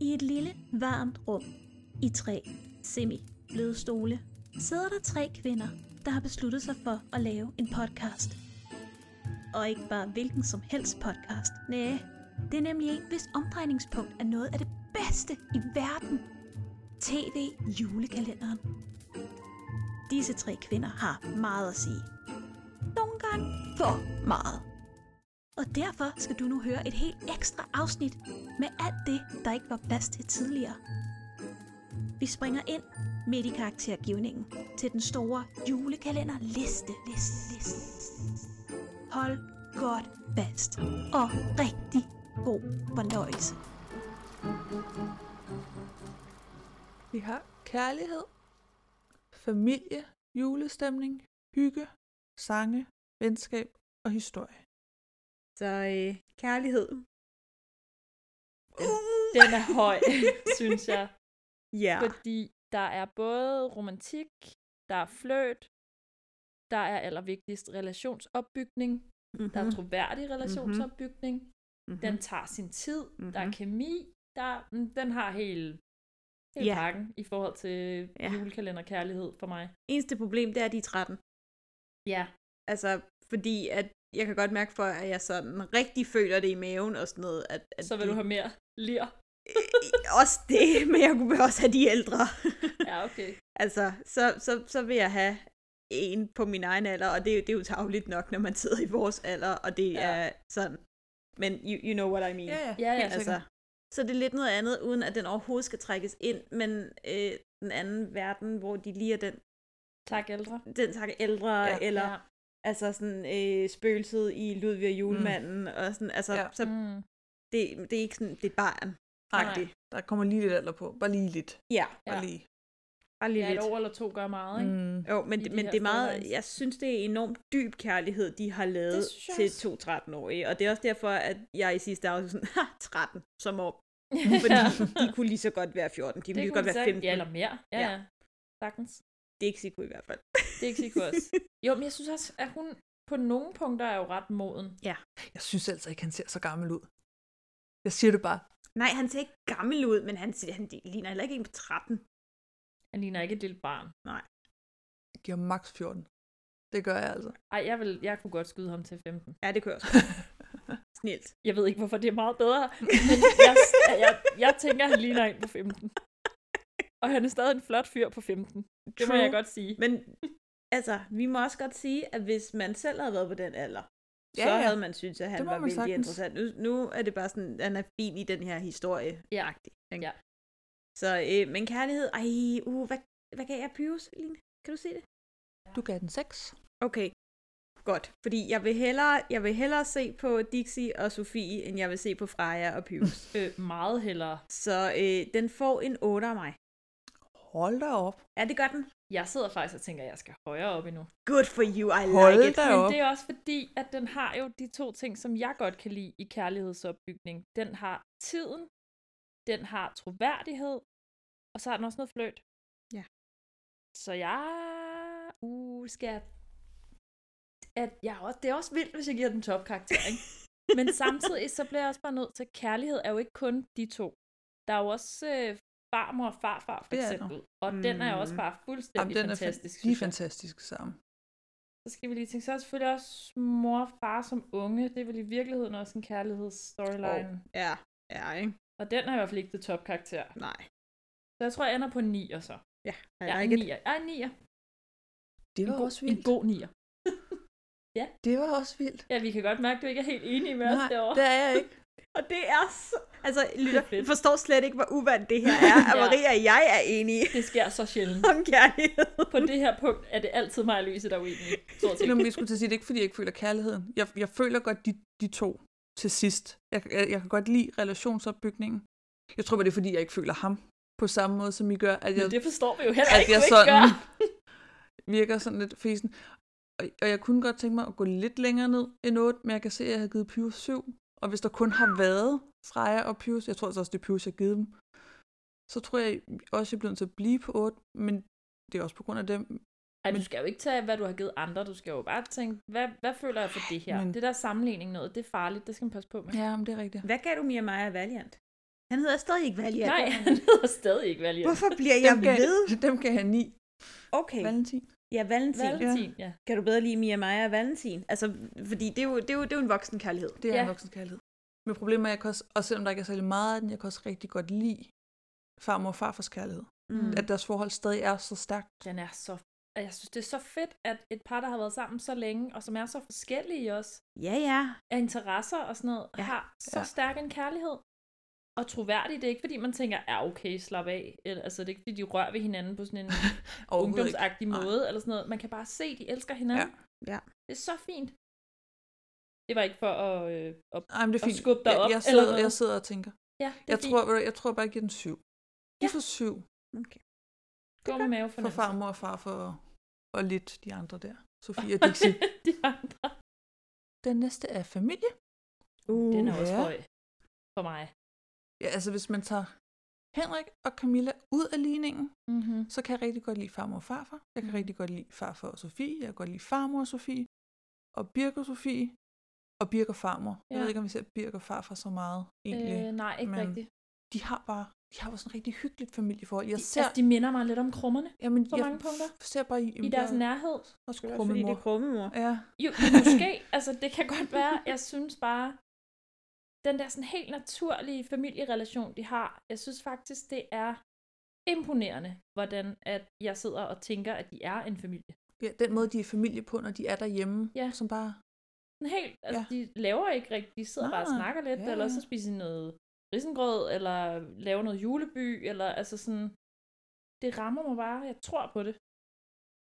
I et lille, varmt rum i tre semi-bløde stole sidder der tre kvinder, der har besluttet sig for at lave en podcast. Og ikke bare hvilken som helst podcast. Næh, det er nemlig en, hvis omdrejningspunkt er noget af det bedste i verden. TV-julekalenderen. Disse tre kvinder har meget at sige. Nogle gange for meget. Og derfor skal du nu høre et helt ekstra afsnit med alt det, der ikke var plads til tidligere. Vi springer ind midt i karaktergivningen til den store julekalender liste. liste, liste. Hold godt fast og rigtig god fornøjelse. Vi har kærlighed, familie, julestemning, hygge, sange, venskab og historie. Så øh, kærlighed. Den er høj, synes jeg. Ja. Fordi der er både romantik, der er fløt, der er allervigtigst relationsopbygning, der Mhm. er troværdig relationsopbygning, den tager sin tid, der Mhm. er kemi, der, mm, den har hele, hele Ja. pakken i forhold til Ja. julekalenderkærlighed for mig. Eneste problem, det er, at de er 13. Ja, Altså, fordi at jeg kan godt mærke for, at jeg sådan rigtig føler det i maven og sådan noget. At, at så vil de... du have mere lir. Også det, men jeg kunne også have de ældre. Ja, okay. altså, så, så, så vil jeg have en på min egen alder, og det, er jo- det er jo tageligt nok, når man sidder i vores alder, og det Ja. ja. er sådan. Men you, you know what I mean. Ja, ja. Ja, ja. Helt Altså, sikkert. så det er lidt noget andet, uden at den overhovedet skal trækkes ind, men øh, den anden verden, hvor de lige er den, Tak ældre. den tak ældre, Ja. ja, eller Ja. ja. altså sådan øh, spøgelset i Ludvig og julemanden, mm. og sådan, altså, Ja. ja. så Mm. det, det er ikke sådan, det er et barn. Nej, Nej. det- der kommer lige lidt alder på. Bare lige lidt. Ja, Bare Ja. lige. bare lige Ja, lidt. et år eller to gør meget, ikke? Mm. Jo, men, i det, de men her det er meget, storylines. jeg synes, det er enormt dyb kærlighed, de har lavet Det synes jeg til også. to 13-årige, og det er også derfor, at jeg i sidste afsnit sådan, ha, 13, som om, fordi de kunne lige så godt være 14, de kunne lige så godt man være 15, sagtens- Ja, eller mere. Ja, Ja. ja. Sagtens. det er ikke sikkert i hvert fald. Det er ikke sikkert også. Jo, men jeg synes også, at hun på nogle punkter er jo ret moden. Jeg synes altså ikke, han ser så gammel ud. Jeg siger det bare. Nej, han ser ikke gammel ud, men han, ser- han ligner heller ikke en på 13. Han ligner ikke et lille barn. Jeg giver max 14. Det gør jeg altså. Ej, jeg, vil, jeg kunne godt skyde ham til 15. Ja, det kører også. Snilt. Jeg ved ikke, hvorfor det er meget bedre, men jeg, jeg, jeg tænker, han ligner en på 15. Og han er stadig en flot fyr på 15. Det må True. jeg godt sige. Men altså, vi må også godt sige, at hvis man selv havde været på den alder, Ja, så ja. havde man synes, at han Det må var man vældig sagtens. interessant. Nu, nu er det bare sådan, han er fin i den her historie. Ja. ikke? Ja. Så, øh, men kærlighed, ej, uh, hvad, hvad gav jeg Pyrus, Line? Kan du se det? Du gav den 6. Okay, godt. Fordi jeg vil hellere, jeg vil hellere se på Dixie og Sofie, end jeg vil se på Freja og Pyrus. Øh, meget hellere. så øh, den får en 8 af mig. Hold da op. Ja, det gør den. Jeg sidder faktisk og tænker, at jeg skal højere op endnu. Good for you, I Hold like it. da Men op. det er også fordi, at den har jo de to ting, som jeg godt kan lide i kærlighedsopbygning. Den har tiden, den har troværdighed, og så har den også noget fløjt. Ja. Så jeg... Uh, skal jeg... At jeg også... Det er også vildt, hvis jeg giver den topkarakter, ikke? Men samtidig så bliver jeg også bare nødt til, at kærlighed er jo ikke kun de to. Der er jo også øh, farmor og farfar, for Det er der. eksempel. Og den er jo også Mm. bare fuldstændig Jamen, den er fa- fantastisk. De synes er jeg fantastiske sammen. så skal vi lige tænke, så er der selvfølgelig også mor og far som unge. Det er vel i virkeligheden også en kærlighedsstoryline. Oh. Ja, ja, ikke? Og den er i hvert fald ikke det topkarakter. Nej. Så jeg tror, jeg ender på en 9'er så. Ja, I Ja, en like it. 9'er. Ja, en 9'er. Det var God, også en vildt. god 9'er. Det var også vildt. Ja, vi kan godt mærke, at du ikke er helt enig med os Nej, derovre. det er jeg ikke. Og det er så... Altså, lytter, fedt. I forstår slet ikke, hvor uvandt det her er, at Ja. Maria og jeg er enige Det sker så sjældent. om kærlighed. På det her punkt er det altid mig og Louise, der er uenige. Stort set. Nå, men jeg skulle til at sige, det er ikke, fordi jeg ikke føler kærligheden. Jeg, jeg føler godt de, de to til sidst. Jeg, jeg, jeg kan godt lide relationsopbygningen. Jeg tror bare, det er, fordi jeg ikke føler ham på samme måde, som I gør. At jeg, Men det forstår vi jo heller at ikke, jeg du ikke sådan gør. virker sådan lidt fesen. Og, og jeg kunne godt tænke mig at gå lidt længere ned end 8, men jeg kan se, at jeg har givet Pyrus 7. Og hvis der kun har været Freja og Pyrus, jeg tror altså også, det er Pyrus, jeg har givet dem, så tror jeg også, jeg er blevet til at blive på 8, men det er også på grund af dem, Ej, du skal jo ikke tage, hvad du har givet andre. Du skal jo bare tænke, hvad, hvad føler jeg for det her? Men- Det der sammenligning noget, det er farligt. Det skal man passe på med. Ja, men det er rigtigt. Hvad gav du Mia Maja Valiant? Han hedder stadig ikke Valiant. Nej, han hedder stadig ikke Valiant. Hvorfor bliver jeg gav, ved? dem gav han ni. Okay. Valentin. Ja, Valentin. Val- Valentin, ja. kan du bedre lide Mia Maja og Valentin? Altså, fordi det er jo, det er jo, det er jo en voksen kærlighed. Det er ja. Ja. en voksen kærlighed. Men problemet er, at jeg kan også, og selvom der ikke er særlig meget af den, jeg kan også rigtig godt lide farmor og farfars kærlighed. Mm. At deres forhold stadig er så stærkt. Den er så... og Jeg synes, det er så fedt, at et par, der har været sammen så længe, og som er så forskellige også, Ja, ja. af interesser og sådan noget, Ja, ja. har så ja. ja. stærk en kærlighed. Og troværdig, det er ikke fordi, man tænker, ja okay, slap af. Eller, altså, det er ikke fordi, de rører ved hinanden på sådan en Overhovedet ikke. ungdomsagtig Nej. måde, eller sådan noget. Man kan bare se, de elsker hinanden. Ja. Ja. Det er så fint. Det var ikke for at... Øh, at Ej, men det er Og fint. skubbe dig jeg, op, jeg, eller sidder, noget. jeg sidder og tænker. ja, det er Jeg fint. tror, ved du, jeg tror bare, jeg giver den syv. De Ja. får syv Okay. Gå med mave for farmor og far for, og lidt de andre der. Sofie og Dixie. de andre. Den næste er familie. Uh. Den er også ja. høj for mig. Ja, altså hvis man tager Henrik og Camilla ud af ligningen, Mm-hmm. så kan jeg rigtig godt lide farmor og farfar. Jeg Mm. kan rigtig godt lide farfar og Sofie. Jeg kan godt lide farmor og Sofie. Og Birk og Sofie. Og Birk og farmor. Ja. Jeg Ja. ved ikke, om vi ser Birk og farfar så meget egentlig. Øh, Øh. nej, ikke men- men... rigtigt. De har bare de har bare sådan et rigtig hyggeligt familieforhold. Jeg De, ser, altså, de minder mig lidt om krummerne jamen, på jeg mange punkter. f- ser bare i, i deres nærhed. og Det er også fordi, det er krummemor. Ja, Jo, måske. altså, det kan godt være. Jeg synes bare, den der sådan helt naturlige familierelation, de har, jeg synes faktisk, det er imponerende, hvordan at jeg sidder og tænker, at de er en familie. ja, den måde, de er familie på, når de er derhjemme, Ja. som bare... Sådan helt, altså, Ja. ja. de laver ikke rigtigt, de sidder Nej, Nej, bare og snakker lidt, ja, ja, eller ja. så spiser de noget risengrød, eller laver noget juleby, eller altså sådan, det rammer mig bare, jeg tror på det.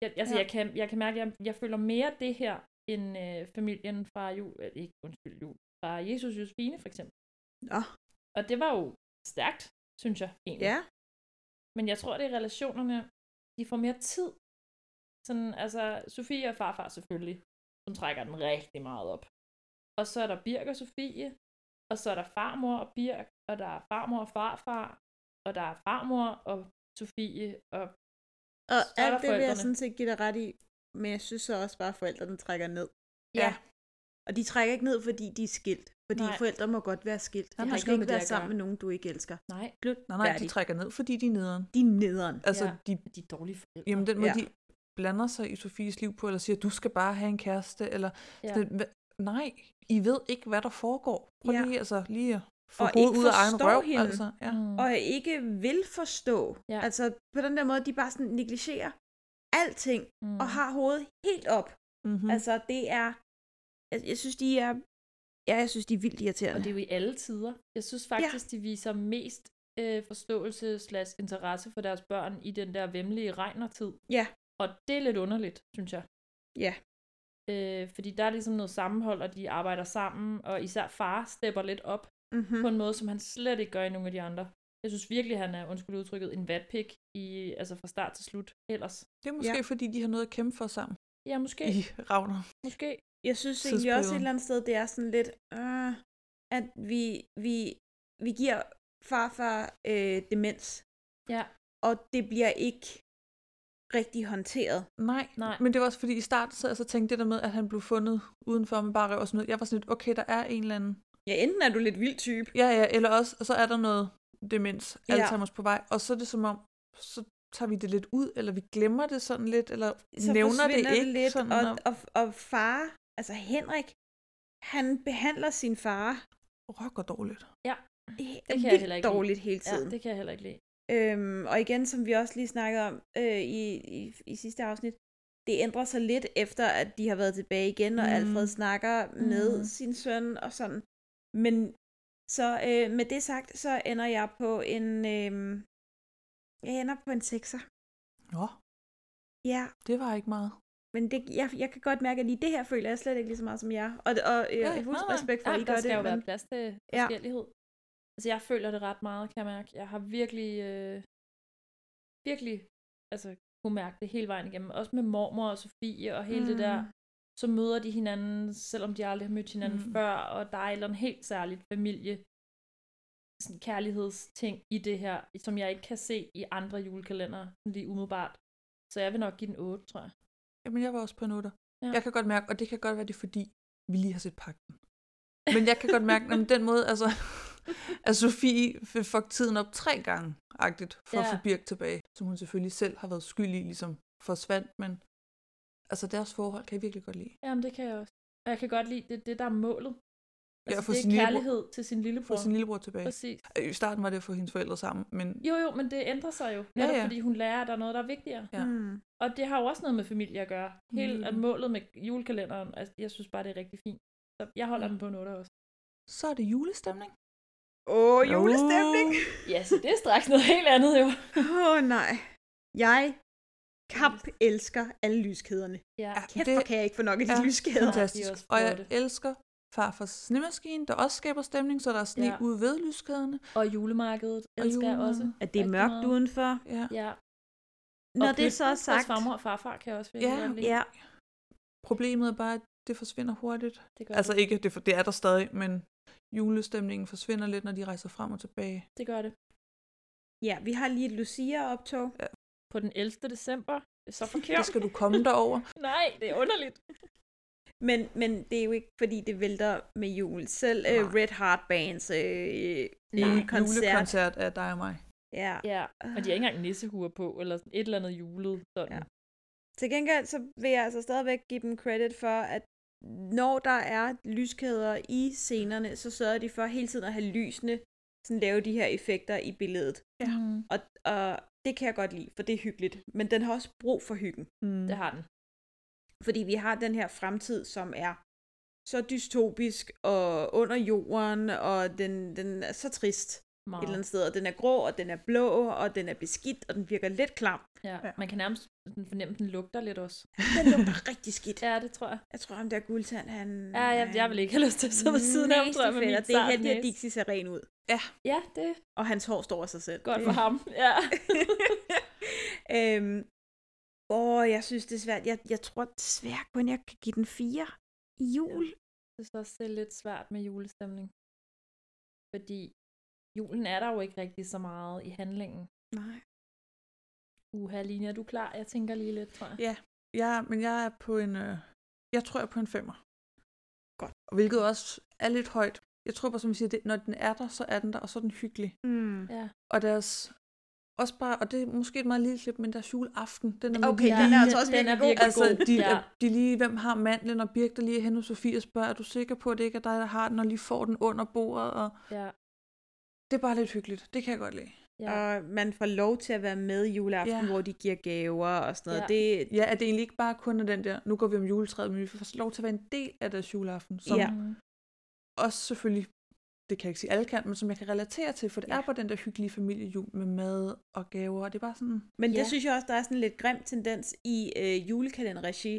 Jeg, altså, Ja. ja. jeg, kan, jeg kan mærke, at jeg, jeg føler mere det her, end øh, familien fra jul, øh, ikke undskyld, jul, fra Jesus Josefine for eksempel. Nå. Og det var jo stærkt, synes jeg egentlig. Ja. Men jeg tror, det er relationerne, de får mere tid. Sådan, altså, Sofie og farfar selvfølgelig, som trækker den rigtig meget op. Og så er der Birk og Sofie, og så er der farmor og Birk, og der er farmor og farfar, og der er farmor og Sofie, og Og Så er alt der det vil jeg forældrene. sådan set give dig ret i. Men jeg synes så også bare, at forældrene trækker ned. Ja. Og de trækker ikke ned, fordi de er skilt. Fordi Nej. Nej. forældre må godt være skilt. har Du ikke skal noget ikke med være det at sammen gøre. med nogen, du ikke elsker. nej, Slut. Nej, nej, de Færdig. trækker ned, fordi de er nederen. De er nederen. Altså, Ja. de, de er dårlige forældre. jamen, den måde, Ja. de blander sig i Sofies liv på, eller siger, du skal bare have en kæreste, eller ja. Sådan, hva- nej, I ved ikke, hvad der foregår. Prøv Ja. lige, altså, lige at få Og hovedet ikke ud af egen forstår røv. hende. Altså, ja. Mm. Og ikke vil forstå. Ja. Altså på den der måde, de bare sådan negligerer alting. mm. Og har hovedet helt op. Mm-hmm. Mm. Altså det er... Jeg, jeg synes, de er... Ja, jeg synes, de er vildt Og irriterende. det er jo i alle tider. Jeg synes faktisk, ja. de viser mest øh, forståelse slash interesse for deres børn i den der vemmelige regnertid. Ja. Og det er lidt underligt, synes jeg. Ja. Øh, fordi der er ligesom noget sammenhold, og de arbejder sammen, og især far stepper lidt op mm. Mm-hmm. på en måde, som han slet ikke gør i nogen af de andre. Jeg synes virkelig, han er, undskyld udtrykket, en vatpik i, altså fra start til slut ellers. Det er måske, ja. fordi de har noget at kæmpe for sammen Ja, måske. i Ravner. Måske. Jeg synes egentlig også et tidsperioden. eller andet sted, det er sådan lidt, øh, at vi, vi, vi giver farfar øh, demens, Ja. og det bliver ikke rigtig håndteret. Nej, Nej. men det var også fordi i starten sad jeg så og tænkte det der med, at han blev fundet udenfor med bare røv og sådan noget. Jeg var sådan lidt, okay, der er en eller anden. Ja, enten er du lidt vild type. Ja, ja, eller også, og så er der noget demens, Ja. ja. Alzheimer's på vej, og så er det som om, så tager vi det lidt ud, eller vi glemmer det sådan lidt, eller Så nævner det forsvinder ikke. det lidt, sådan, og, og, og far, altså Henrik, han behandler sin far og rocker dårligt. det kan jeg vildt heller ikke lide. dårligt hele Ja, tiden. det kan jeg heller ikke lide. Øhm, og igen, som vi også lige snakkede om øh, i, i, i sidste afsnit, det ændrer sig lidt efter, at de har været tilbage igen, og Mm. mm. Alfred snakker med Mm. sin søn og sådan. Men så øh, med det sagt, så ender jeg på en... Øh, jeg ender på en sekser. Nå, Ja, det var ikke meget. men det, jeg, jeg kan godt mærke, at lige det her føler jeg slet ikke lige så meget som jer. Og, og øh, Ja, ja, jeg nej, nej. respekt for, Ja, at I der gør skal det. jo Men, være plads til Ja. forskellighed. Altså, jeg føler det ret meget, kan jeg mærke. Jeg har virkelig, øh, virkelig, altså, kunne mærke det hele vejen igennem. Også med mormor og Sofie og hele mm. det der. Mm. Så møder de hinanden, selvom de aldrig har mødt hinanden Mm. mm. før, og der er et eller andet helt særligt familie sådan kærlighedsting i det her, som jeg ikke kan se i andre julekalender, sådan lige umiddelbart. Så jeg vil nok give den 8, tror jeg. Jamen, jeg var også på en otter. Ja. Ja. Jeg kan godt mærke, og det kan godt være, det er fordi, vi lige har set pakken. Men jeg kan godt mærke, at den måde, altså, at Sofie vil fuck tiden op tre gange, agtigt, for ja. at Ja. få Birk tilbage, som hun selvfølgelig selv har været skyld i, ligesom forsvandt, men altså deres forhold kan jeg virkelig godt lide. Jamen, det kan jeg også. Og jeg kan godt lide, det er det, der er målet. Altså, at få det er sin lillebror- kærlighed til sin Få lillebror. sin lillebror tilbage. Præcis. I starten var det at få hendes forældre sammen, men Jo, jo, men det ændrer sig jo. Netop ja, ja. ja. fordi hun lærer, at der er noget, der er vigtigere. Ja. Mm. Og det har jo også noget med familie at gøre. Helt Mm. at målet med julekalenderen, altså, jeg synes bare, det er rigtig fint. Så jeg holder den på en 8 også. så er det julestemning. Åh, oh, julestemning! Ja, så det er straks noget helt andet jo. Åh, oh, nej. Jeg kamp elsker alle lyskæderne. Ja. Kæft, det... hvor kan jeg ikke få nok af de er ja. lyskæder. Fantastisk. fantastisk. de er også og jeg flotte. elsker farfars snemaskine, der også skaber stemning, så der er sne Ja. ude ved lyskæderne. Og julemarkedet Og elsker jeg også. julemarkedet. At det er Rigtig mørkt meget. udenfor. Ja. Ja. Når og det så er pynten sagt... Hos farmor og farfar kan jeg også virkelig Ja. godt lide. Ja, Problemet er bare, at det forsvinder hurtigt. Det gør, Altså altså, det. ikke, at det, for, det er der stadig, men julestemningen forsvinder lidt, når de rejser frem og tilbage. det gør det. ja, vi har lige et Lucia-optog. På den 11. december. Det er så Ja. Det forkert. skal du komme derover. Nej, det er underligt. Men, men det er jo ikke, fordi det vælter med jul. Selv øh, Nej. Red Heart Bands øh, øh, Nej. koncert. Julekoncert af dig og mig. Ja. Ja, og de har ikke engang nissehuer på, eller sådan et eller andet julet. Sådan. Ja. Til gengæld så vil jeg altså stadigvæk give dem credit for, at når der er lyskæder i scenerne, så sørger de for hele tiden at have lysene, sådan lave de her effekter i billedet. Ja. Og, og det kan jeg godt lide, for det er hyggeligt. Men den har også brug for hyggen. Mm. Det har den. Fordi vi har den her fremtid, som er så dystopisk og under jorden, og den, den er så trist et Meget. eller andet sted. Og den er grå, og den er blå, og den er beskidt, og den virker lidt klam. Ja. Ja. Man kan nærmest sådan fornemme, at den lugter lidt også. Den lugter rigtig skidt. Ja, det tror jeg. Jeg tror, ham der guldtand, han... Ja, jeg, jeg vil ikke have lyst til at sidde ved siden af ham, tror jeg, med min Det er sarte heldigt, at næse. Dixie ser ren ud. Ja, det er Og hans hår står af sig selv. godt for ham. Ja. øhm, åh, jeg synes, det er svært. Jeg, jeg tror desværre kun, jeg kan give den fire i jul. Jeg synes også, det er lidt svært med julestemning. Fordi julen er der jo ikke rigtig så meget i handlingen. Nej. Uha, Line, er du klar? Jeg tænker lige lidt, tror jeg. Ja. Ja, men jeg er på en, øh, jeg tror jeg er på en femmer. Godt. Hvilket også er lidt højt. Jeg tror bare, som jeg siger, det, når den er der, så er den der, og så er den hyggelig. Mm. ja. Og deres, også bare, og det er måske et meget lille klip, men deres juleaften, den er med Okay, de den er lige- altså også den virkelig er god. virkelig Altså, god. de, Ja. ja. de lige, hvem har mandlen, og Birk, der lige er henne hos Sofie og spørger, er du sikker på, at det ikke er dig, der har den, og lige får den under bordet, og Ja, det er bare lidt hyggeligt. Det kan jeg godt lide. ja. Og man får lov til at være med juleaften, Ja. hvor de giver gaver og sådan noget. Ja. Det, Ja, at det egentlig ikke bare kun er den der, nu går vi om juletræet, men vi får lov til at være en del af deres juleaften, som Ja. ja. Mm. også selvfølgelig, det kan jeg ikke sige alle kan, men som jeg kan relatere til, for det ja. er på den der hyggelige familiejul med mad og gaver, og det er bare sådan, men det Ja. synes jeg også, der er sådan en lidt grim tendens i øh, julekalenderregi,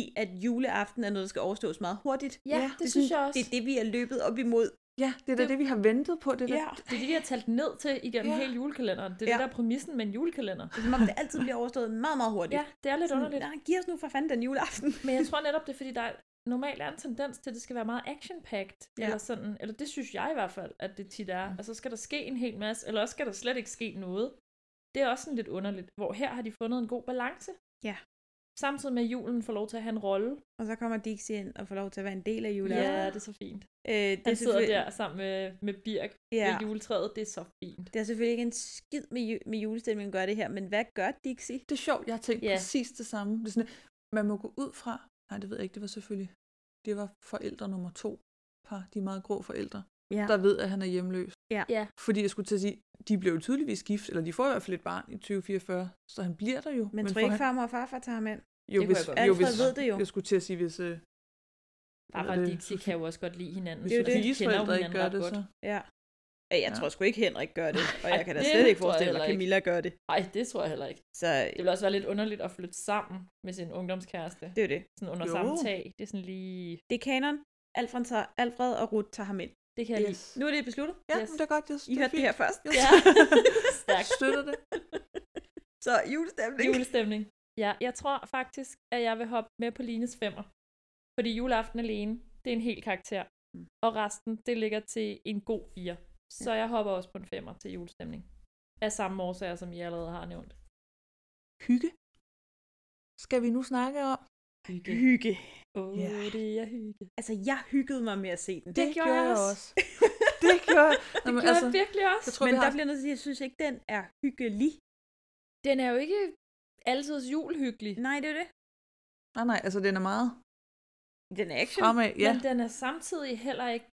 i at juleaften er noget, der skal overstås meget hurtigt. ja, Ja, det, det synes sådan- jeg også. Det er det, vi er løbet op imod. ja, det er da det, Det- det, vi har ventet på, det er ja. Det er det, vi har talt ned til igennem Ja. ja. hele julekalenderen. Det er Ja. ja. det, der er præmissen med en julekalender. Det er som om, det altid bliver overstået meget, meget hurtigt. Ja, det er lidt Sådan, underligt. Nej, giv os nu for fanden den juleaften. Men jeg tror netop, det er fordi, der er, normalt er en tendens til, at det skal være meget action-packed. Ja. Ja. Eller, sådan, eller det synes jeg i hvert fald, at det tit er. Og så skal der ske en hel masse, eller også skal der slet ikke ske noget. Det er også sådan lidt underligt, hvor her har de fundet en god balance. Ja. Samtidig med, at julen får lov til at have en rolle. Og så kommer Dixie ind og får lov til at være en del af juleaften. Ja, det er så fint. Øh, det, Han er sidder selvfølgelig- der sammen med, med Birk ja. Ja. ved juletræet. Det er så fint. Det er selvfølgelig ikke en skid med, ju- med julestemningen gør det her, men hvad gør Dixie? det er sjovt, jeg har tænkt Ja. yeah. præcis det samme. Det er sådan, man må gå ud fra, nej det ved jeg ikke, det var selvfølgelig, det var forældre nummer to par, de er meget grå forældre, Ja. der ved, at han er hjemløs. Ja. Ja. Fordi jeg skulle til at sige, de blev jo tydeligvis gift, eller de får i hvert fald et barn i 2044, så han bliver der jo. Men tror får ikke, han, farmor og farfar tager ham ind? jo, Det kunne hvis, jeg godt jo, Alfred hvis, ved det jo. Jeg skulle til at sige, hvis, øh, Bare er og det? Dixie kan jo også godt lide hinanden. Det er jo så det. de hvis kender jo forældre ikke hinanden gør ret det, så... godt. Ja. Øh, Jeg Ja. tror sgu ikke, Henrik gør det, og jeg Ej, kan da det slet ikke tror jeg forestille mig, heller at ikke. Camilla gør det. Ej, det tror jeg heller ikke. Så øh, Det ville også være lidt underligt at flytte sammen med sin ungdomskæreste. det er jo det. sådan under Jo. jo. samme tag. Det er sådan lige... Det er kanon. Alfred, tager, Alfred og Ruth tager ham ind. Det kan jeg Yes. lide. Nu er det besluttet. Ja, Yes. yes. det er godt, jeg I hørte det her først. Jeg Ja. ja. Stærk støtter det. Så julestemning. julestemning. Ja, jeg tror faktisk, at jeg vil hoppe med på Lines femmer. Fordi juleaften alene, det er en hel karakter. Mm. Og resten, det ligger til en god fire. Så jeg hopper også på en femmer til julestemning. Af samme årsager, som I allerede har nævnt. Hygge. Skal vi nu snakke om? Hygge. Hygge. Åh, oh, Ja. det er hygge. Altså, jeg hyggede mig med at se den. Det gjorde jeg også. det gjorde Nå, Det men, gjorde altså, jeg virkelig også. jeg tror, men vi der har... bliver jeg nødt til at sige, at jeg synes ikke, den er hyggelig. Den er jo ikke altid julhyggelig, Nej, det er jo det. Nej, nej, altså den er meget Den er action. fremad. Ja. men den er samtidig heller ikke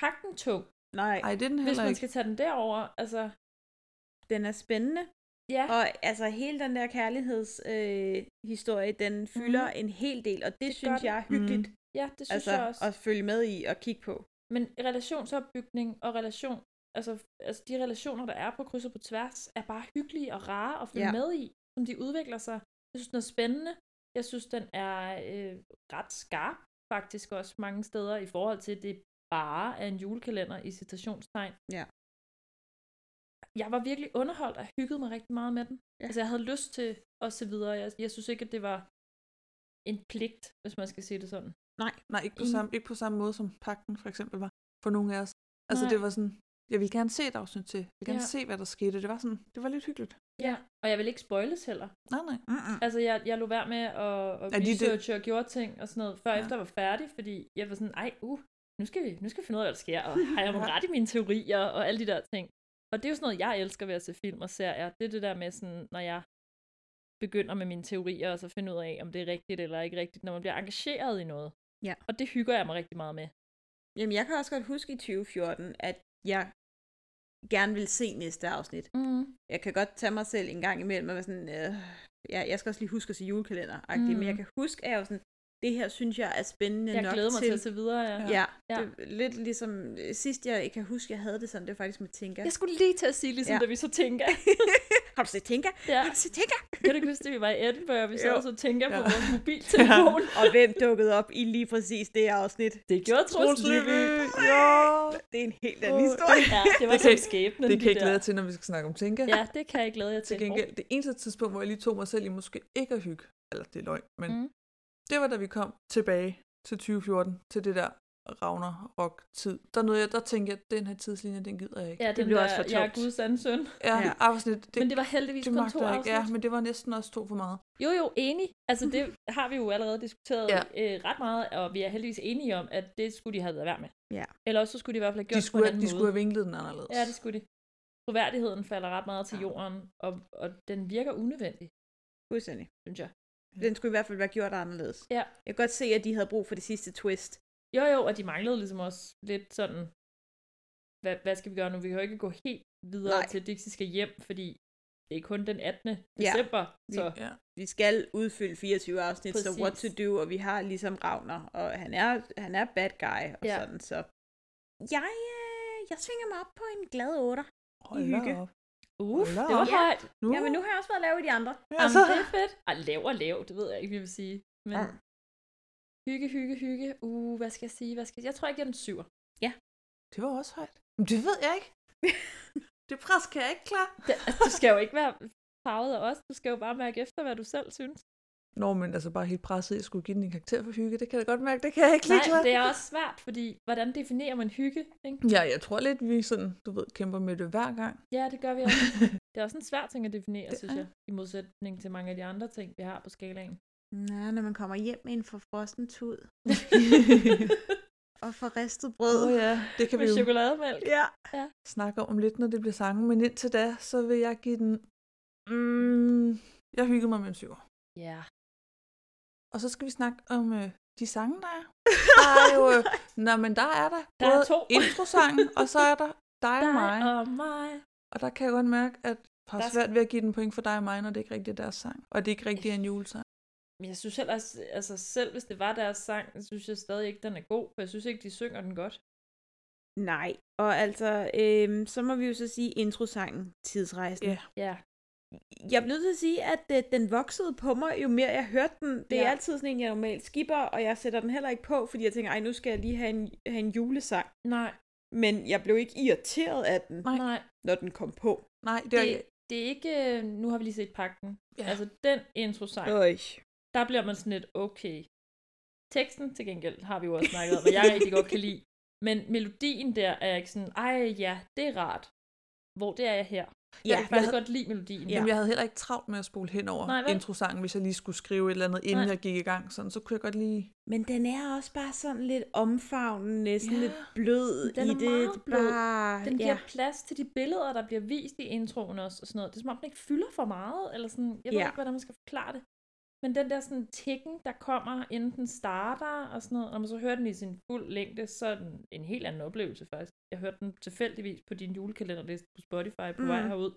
pakken tung, Nej, Ej, det er den hvis heller man ikke. skal tage den derover. Altså, den er spændende. ja, Og altså hele den der kærlighedshistorie, øh, historie, den fylder mm. en hel del, og det, det Det synes gør den. jeg er hyggeligt mm. ja det synes altså, jeg også. at følge med i og kigge på. Men relationsopbygning og relation, altså, altså de relationer, der er på kryds og på tværs, er bare hyggelige og rare at følge Ja. ja. med i, som de udvikler sig. Jeg synes, den er spændende. Jeg synes, den er øh, ret skarp, faktisk også mange steder, i forhold til, at det bare er en julekalender i citationstegn. Ja. Jeg var virkelig underholdt og hyggede mig rigtig meget med den. Ja. Ja. Altså, jeg havde lyst til og så videre. Jeg, jeg synes ikke, at det var en pligt, hvis man skal sige det sådan. Nej, ikke på, Enig. samme, ikke på samme måde som pakken for eksempel var for nogle af os. Altså Nej. det var sådan, jeg ville gerne se et afsnit til. Jeg ville gerne Ja. se, hvad der skete. Det var sådan, det var lidt hyggeligt. Ja. Og jeg vil ikke spoiles heller. Nej, nej. Mm-mm. Altså, jeg, jeg lå være med at, at Er de det- researche og gjorde ting og sådan noget, før Ja. ja. efter jeg var færdig, fordi jeg var sådan, ej, uh, nu skal vi, nu skal vi finde ud af, hvad der sker, og har jeg nu ret i mine teorier og alle de der ting. Og det er jo sådan noget, jeg elsker ved at se film og serier. Det er det der med sådan, når jeg begynder med mine teorier, og så finde ud af, om det er rigtigt eller ikke rigtigt, når man bliver engageret i noget. Ja. Og det hygger jeg mig rigtig meget med. Jamen, jeg kan også godt huske i 2014, at jeg gerne vil se næste afsnit. Mm. Jeg kan godt tage mig selv en gang imellem, og være sådan, øh, jeg, jeg skal også lige huske at se julekalender, mm. men Mm. jeg kan huske, at jeg var sådan, det her synes jeg er spændende Jeg nok glæder mig til, til. til at se videre. Ja. Ja, ja. ja. Det, er lidt ligesom øh, sidst, jeg kan huske, jeg havde det sådan, det var faktisk med Tinka. Jeg skulle lige til at sige, ligesom Ja. ja. da vi så tænker. Har du set Tinka? Ja. Har du set Tinka? Kan du ikke huske, at vi var i Edinburgh, og vi sad Jo. og så tænker på Ja. vores mobiltelefon? Og hvem dukkede op i lige præcis det afsnit? Det gjorde Troels Lyby. Lyby. Ja. Det er en helt anden Åh, historie. Ja, det Det var kan som ikke- skæbnen. Det kan de jeg der. glæde jer til, når vi skal snakke om tænke. Ja, det kan jeg glæde jer til. Til gengæld, det eneste tidspunkt, hvor jeg lige tog mig selv i måske ikke at hygge, eller det er løgn, men mm. Mm. det var da vi kom tilbage til 2014, til det der Ragnarok-tid. Der nåede jeg, der tænkte jeg, den her tidslinje, den gider jeg ikke. Ja, Det den blev der, også for Jeg er tungt. Guds anden søn. Ja, Ja. ja. afsnit, det, Men det var heldigvis det kun to magter jeg ikke. afsnit. Ja, men det var næsten også to for meget. Jo, jo, enig. Altså, det har vi jo allerede diskuteret Ja. ja. øh, ret meget, og vi er heldigvis enige om, at det skulle de have været værd med. Ja. Eller også så skulle de i hvert fald have De gjort det skulle, på have, en anden de måde. skulle have vinklet den anderledes. Ja, det skulle de. Troværdigheden falder ret meget til jorden, og, og den virker unødvendig, Fuldstændig. synes jeg. Den skulle i hvert fald være gjort anderledes. Ja. Jeg kan godt se, at de havde brug for det sidste twist. Jo, jo, og de manglede ligesom også lidt sådan, hvad, hvad skal vi gøre nu? Vi kan jo ikke gå helt videre Nej. Nej. til, at Dixie skal hjem, fordi det er kun den 18. december, Vi- så... Ja. Vi skal udfylde 24 afsnit, så Præcis. what to do, og vi har ligesom Ravner, og han er, han er bad guy og ja. Ja. sådan, så... Jeg, øh, jeg svinger mig op på en glad otter. Hold hygge. da op. Uff, Hold da det var op. højt. Nu. Jamen, nu har jeg også været lav i de andre. Ja, Jamen, så. det er fedt. Ej, lav og lav, det ved jeg ikke, vi vil sige. Men Ja. hygge, hygge, hygge. Uh, hvad skal jeg sige? Hvad skal jeg... jeg tror, jeg giver den syver. Det var også højt. Men det ved jeg ikke. det pres kan jeg ikke klare. Det, altså, du skal jo ikke være farvet af os. Du skal jo bare mærke efter, hvad du selv synes. Nå, men altså bare helt presset, jeg skulle give den en karakter for hygge, det kan jeg godt mærke, det kan jeg ikke lige Nej, klare. det er også svært, fordi hvordan definerer man hygge? Ikke? Ja, jeg tror lidt, vi sådan, du ved, kæmper med det hver gang. Ja, det gør vi også. Det er også en svær ting at definere, Det det synes er. jeg, i modsætning til mange af de andre ting, vi har på skalaen. Nå, når man kommer hjem med en forfrosten tud og får ristet brød. Åh oh, ja, det kan vi Med jo chokolademælk. ja. snakke om lidt, når det bliver sangen, men indtil da, så vil jeg give den... Mm, jeg hyggede mig med en syver. Ja. Og så skal vi snakke om øh, de sange, der er. Der er jo, øh, nå, men der er der, Der er både to. introsangen, og så er der dig og mig. Dig og mig. Og der kan jeg godt mærke, at jeg har Der- svært ved at give den point for dig og mig, når det ikke rigtig er deres sang. Og det ikke rigtig er en julesang. Men jeg synes heller, også- altså selv hvis det var deres sang, så synes jeg stadig ikke, den er god, for jeg synes ikke, de synger den godt. Nej, og altså, øhm, så må vi jo så sige introsangen, tidsrejsen. Ja. Ja. Jeg er nødt til at sige, at øh, den voksede på mig, jo mere jeg hørte den. Det er Ja. altid sådan en, jeg normalt skipper, og jeg sætter den heller ikke på, fordi jeg tænker, ej, nu skal jeg lige have en, have en julesang. Nej, Men jeg blev ikke irriteret af den, Nej. nej. når den kom på. Nej, det er... Det, det er ikke, øh, nu har vi lige set pakken. Ja. Ja. Altså den introsang, Øj. der bliver man sådan lidt, okay. Teksten til gengæld har vi jo også snakket om, og jeg rigtig godt kan lide. Men melodien der er ikke sådan, ej ja, det er rart. Hvor det er jeg her. Jeg Ja, kan faktisk godt lide melodien. Ja. Jamen, jeg havde heller ikke travlt med at spole hen over Nej, Nej, vel? introsangen, hvis jeg lige skulle skrive et eller andet, inden Nej. Nej. jeg gik i gang. Sådan, så kunne jeg godt lige... Men den er også bare sådan lidt omfavnende, næsten Ja. ja. lidt blød Den i er det. meget det er blød. bare, Den giver ja. ja. plads til de billeder, der bliver vist i introen også, og sådan noget. Det er som om, den ikke fylder for meget, eller sådan, jeg ved ja. Ja. ikke, hvordan man skal forklare det. Men den der sådan tikken, der kommer, inden den starter og sådan noget, og når man så hører den i sin fuld længde, så er den en helt anden oplevelse faktisk. Jeg hørte den tilfældigvis på din julekalenderliste på Spotify på mm. vej Mm. herud,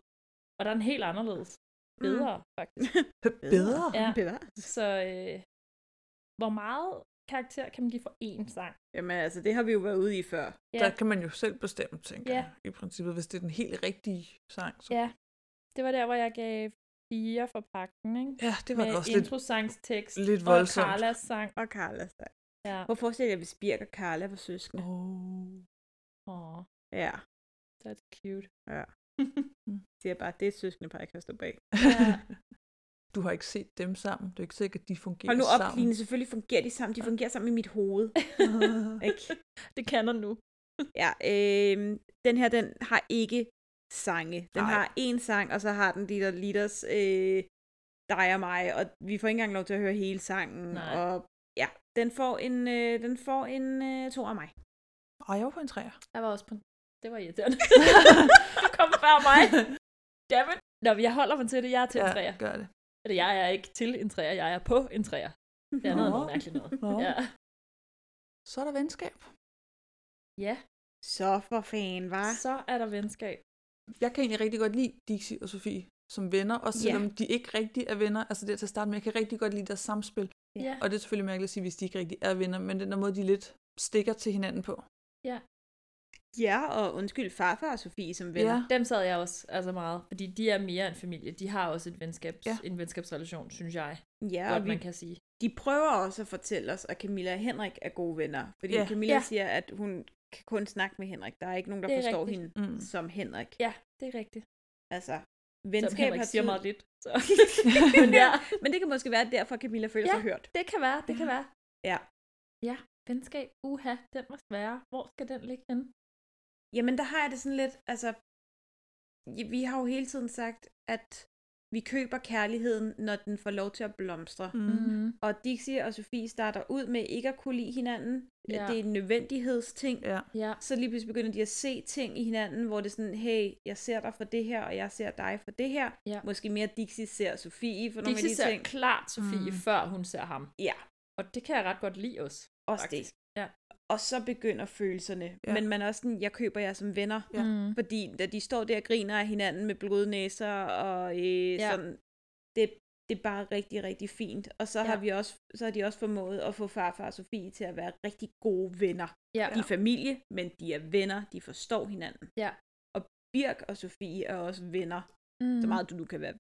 og der er den helt anderledes. Bedre, mm. faktisk. Bedre? Ja. Bevares. Så øh, hvor meget karakter kan man give for én sang? Jamen altså, det har vi jo været ude i før. Ja. Der kan man jo selv bestemme, tænker Ja. ja. jeg, i princippet. Hvis det er den helt rigtige sang, så... Ja, det var der, hvor jeg gav fire for pakken, ikke? ja det var da med også lidt... introsangstekst lidt og voldsomt. Carlas sang. Og Carla. så. Ja. Hvor forestiller jeg, at vi Birk og Carla var søskende? Oh. Oh, Ja, that's cute. siger bare, det er et søskendepar, jeg kan stå bag. Ja. Du har ikke set dem sammen. Du er ikke sikkert, at de fungerer Hold nu op, sammen. Line. Selvfølgelig fungerer de sammen. De fungerer sammen i mit hoved. Ikke? det kan der nu. Ja, øh, den her, den har ikke sange. Den Nej. Ej. har én sang, og så har den de der leaders, øh, dig og mig, og vi får ikke engang lov til at høre hele sangen. Nej. Og ja, den får en, øh, den får en øh, to af mig. Ej, jeg var på en træer. Jeg var også på Det var irriterende. du kom før mig. Dammit. Nå, men jeg holder mig til det. Jeg er til en træer. Ja, gør det. Eller jeg er ikke til en træer. Jeg er på en træer. Det er noget, Nå. noget mærkeligt noget. Nå. Ja. Så er der venskab. ja, Så for fan, var. så er der venskab. Jeg kan egentlig rigtig godt lide Dixie og Sofie som venner, også Ja. selvom de ikke rigtig er venner. Altså det er til at starte med, jeg kan rigtig godt lide deres samspil. Ja. Ja. Og det er selvfølgelig mærkeligt at sige, hvis de ikke rigtig er venner, men den der måde, de lidt stikker til hinanden på. Ja, og undskyld farfar og Sofie som venner. Dem sad jeg også altså meget, fordi de er mere en familie. De har også et venskabs, ja. Ja. en venskabsrelation, synes jeg, Ja, ja, og godt vi, man kan sige. de prøver også at fortælle os, at Camilla og Henrik er gode venner. Fordi Ja. yeah. Camilla Ja. yeah. siger, at hun kan kun snakke med Henrik. Der er ikke nogen, der Det er forstår rigtigt. hende Mm. som Henrik. Ja, det er rigtigt. Altså, Selvom venskab Henrik har siger tyd- meget lidt. Så. men, Men ja. ja. men det kan måske være, at derfor Camilla føler Ja. sig hørt. Det kan være, det kan være. Ja. Ja, venskab, uha, den var sværere. Hvor skal den ligge henne? Jamen, der har jeg det sådan lidt, altså, ja, vi har jo hele tiden sagt, at vi køber kærligheden, når den får lov til at blomstre. Mm. Mm. Og Dixie og Sofie starter ud med ikke at kunne lide hinanden. Ja. Ja. Det er en nødvendighedsting. Ja. Ja, så lige pludselig begynder de at se ting i hinanden, hvor det er sådan, hey, jeg ser dig for det her, og jeg ser dig for det her. Ja. Måske mere Dixie ser Sofie for nogle Dixie af de ser ting. klart Sofie, mm. Mm. før hun ser ham. Ja, Og det kan jeg ret godt lide også. også det. Faktisk, ja. Og så begynder følelserne. Ja. Ja. Men man er også sådan, jeg køber jer som venner. Ja. Mm. Fordi da de står der og griner af hinanden med blodnæser og øh, Ja. ja. sådan, det, det er bare rigtig, rigtig fint. Og så, ja. har Ja. vi også, så har de også formået at få farfar og Sofie til at være rigtig gode venner. Ja. De er familie, men de er venner, de forstår hinanden. Ja. Og Birk og Sofie er også venner, mm. Mm. så meget du nu kan være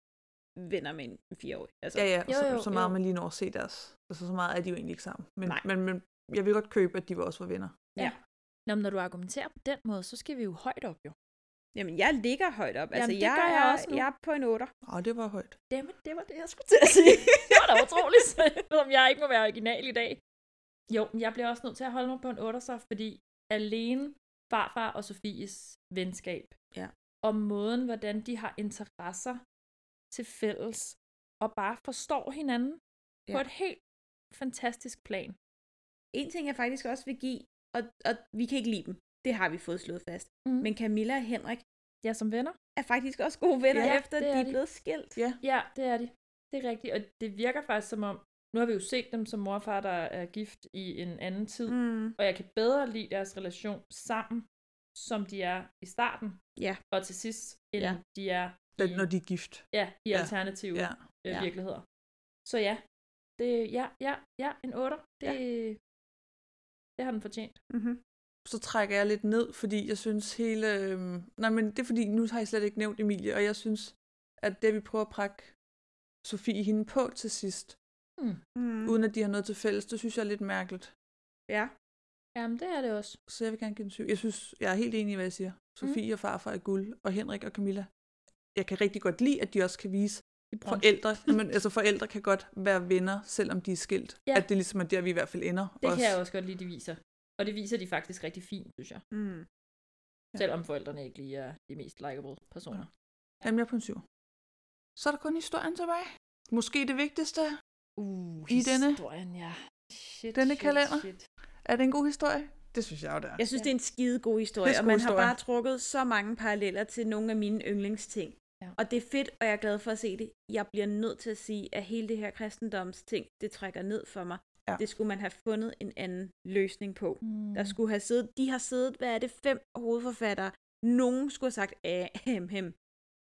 venner med en fireårig. Altså, Ja, ja, og Jo, så, jo, så meget jo. man lige når at se deres. Altså, så meget er de jo egentlig ikke sammen. Men, Nej. men, men jeg vil godt købe, at de var også var venner. Nå, men når du argumenterer på den måde, så skal vi jo højt op, jo. Jamen, jeg ligger højt op. Altså, Jamen, det jeg, gør jeg er, også nu. jeg er på en otter. Og det var højt. Jamen, det var det, jeg skulle til at sige. det var da utroligt, så jeg ved, om jeg ikke må være original i dag. Jo, men jeg bliver også nødt til at holde mig på en 8'er, så, fordi alene farfar og Sofies venskab, Ja. og måden, hvordan de har interesser til fælles, og bare forstår hinanden ja. på Ja. et helt fantastisk plan. En ting, jeg faktisk også vil give, og, og vi kan ikke lide dem. Det har vi fået slået fast. Mm. Men Camilla og Henrik Ja, som venner. er faktisk også gode venner, Ja, ja, efter det er de er de. blevet skilt. Ja. Ja, det er de. Det er rigtigt, og det virker faktisk som om, nu har vi jo set dem som mor og far, der er gift i en anden tid, Mm. Og jeg kan bedre lide deres relation sammen, som de er i starten Ja. og til sidst, end ja. Ja. de er Da, i, når de er gift. ja, i Ja. alternative Ja. øh, Ja. virkeligheder. Så ja, det, ja, ja, ja, en 8'er, det, det har den fortjent. Mm-hmm. Så trækker jeg lidt ned, fordi jeg synes hele... Øh... Nej, men det er fordi, nu har jeg slet ikke nævnt Emilie, og jeg synes, at det vi prøver at prakke Sofie hende på til sidst, Mm. mm. uden at de har noget til fælles, det synes jeg er lidt mærkeligt. Ja. Jamen, det er det også. Så jeg vil gerne give den syv. Jeg synes, jeg er helt enig i, hvad jeg siger. Sofie mm. og farfar er guld, og Henrik og Camilla. Jeg kan rigtig godt lide, at de også kan vise De bruger forældre. men, altså forældre kan godt være venner, selvom de er skilt. Ja. Ja. At det ligesom er der, vi i hvert fald ender. det kan jeg også godt lide, de viser. Og det viser de faktisk rigtig fint, synes jeg. Mm. Selvom forældrene ikke lige er de mest likeable personer. Jamen, jeg er på en syv. Så er der kun historien tilbage. Måske det vigtigste. Uh, I denne- historien, ja. Shit, denne shit, kalender? Shit. Er det en god historie? Det synes jeg jo, det er. Jeg synes, det er en skide god historie, Det er en og man god har historie. bare trukket så mange paralleller til nogle af mine yndlingsting. Ja. Og det er fedt, og jeg er glad for at se det. Jeg bliver nødt til at sige, at hele det her kristendomsting, det trækker ned for mig. Ja. Det skulle man have fundet en anden løsning på. Mm. Der skulle have siddet, de har siddet, hvad er det, fem hovedforfattere. Nogen skulle have sagt, ahem, hem.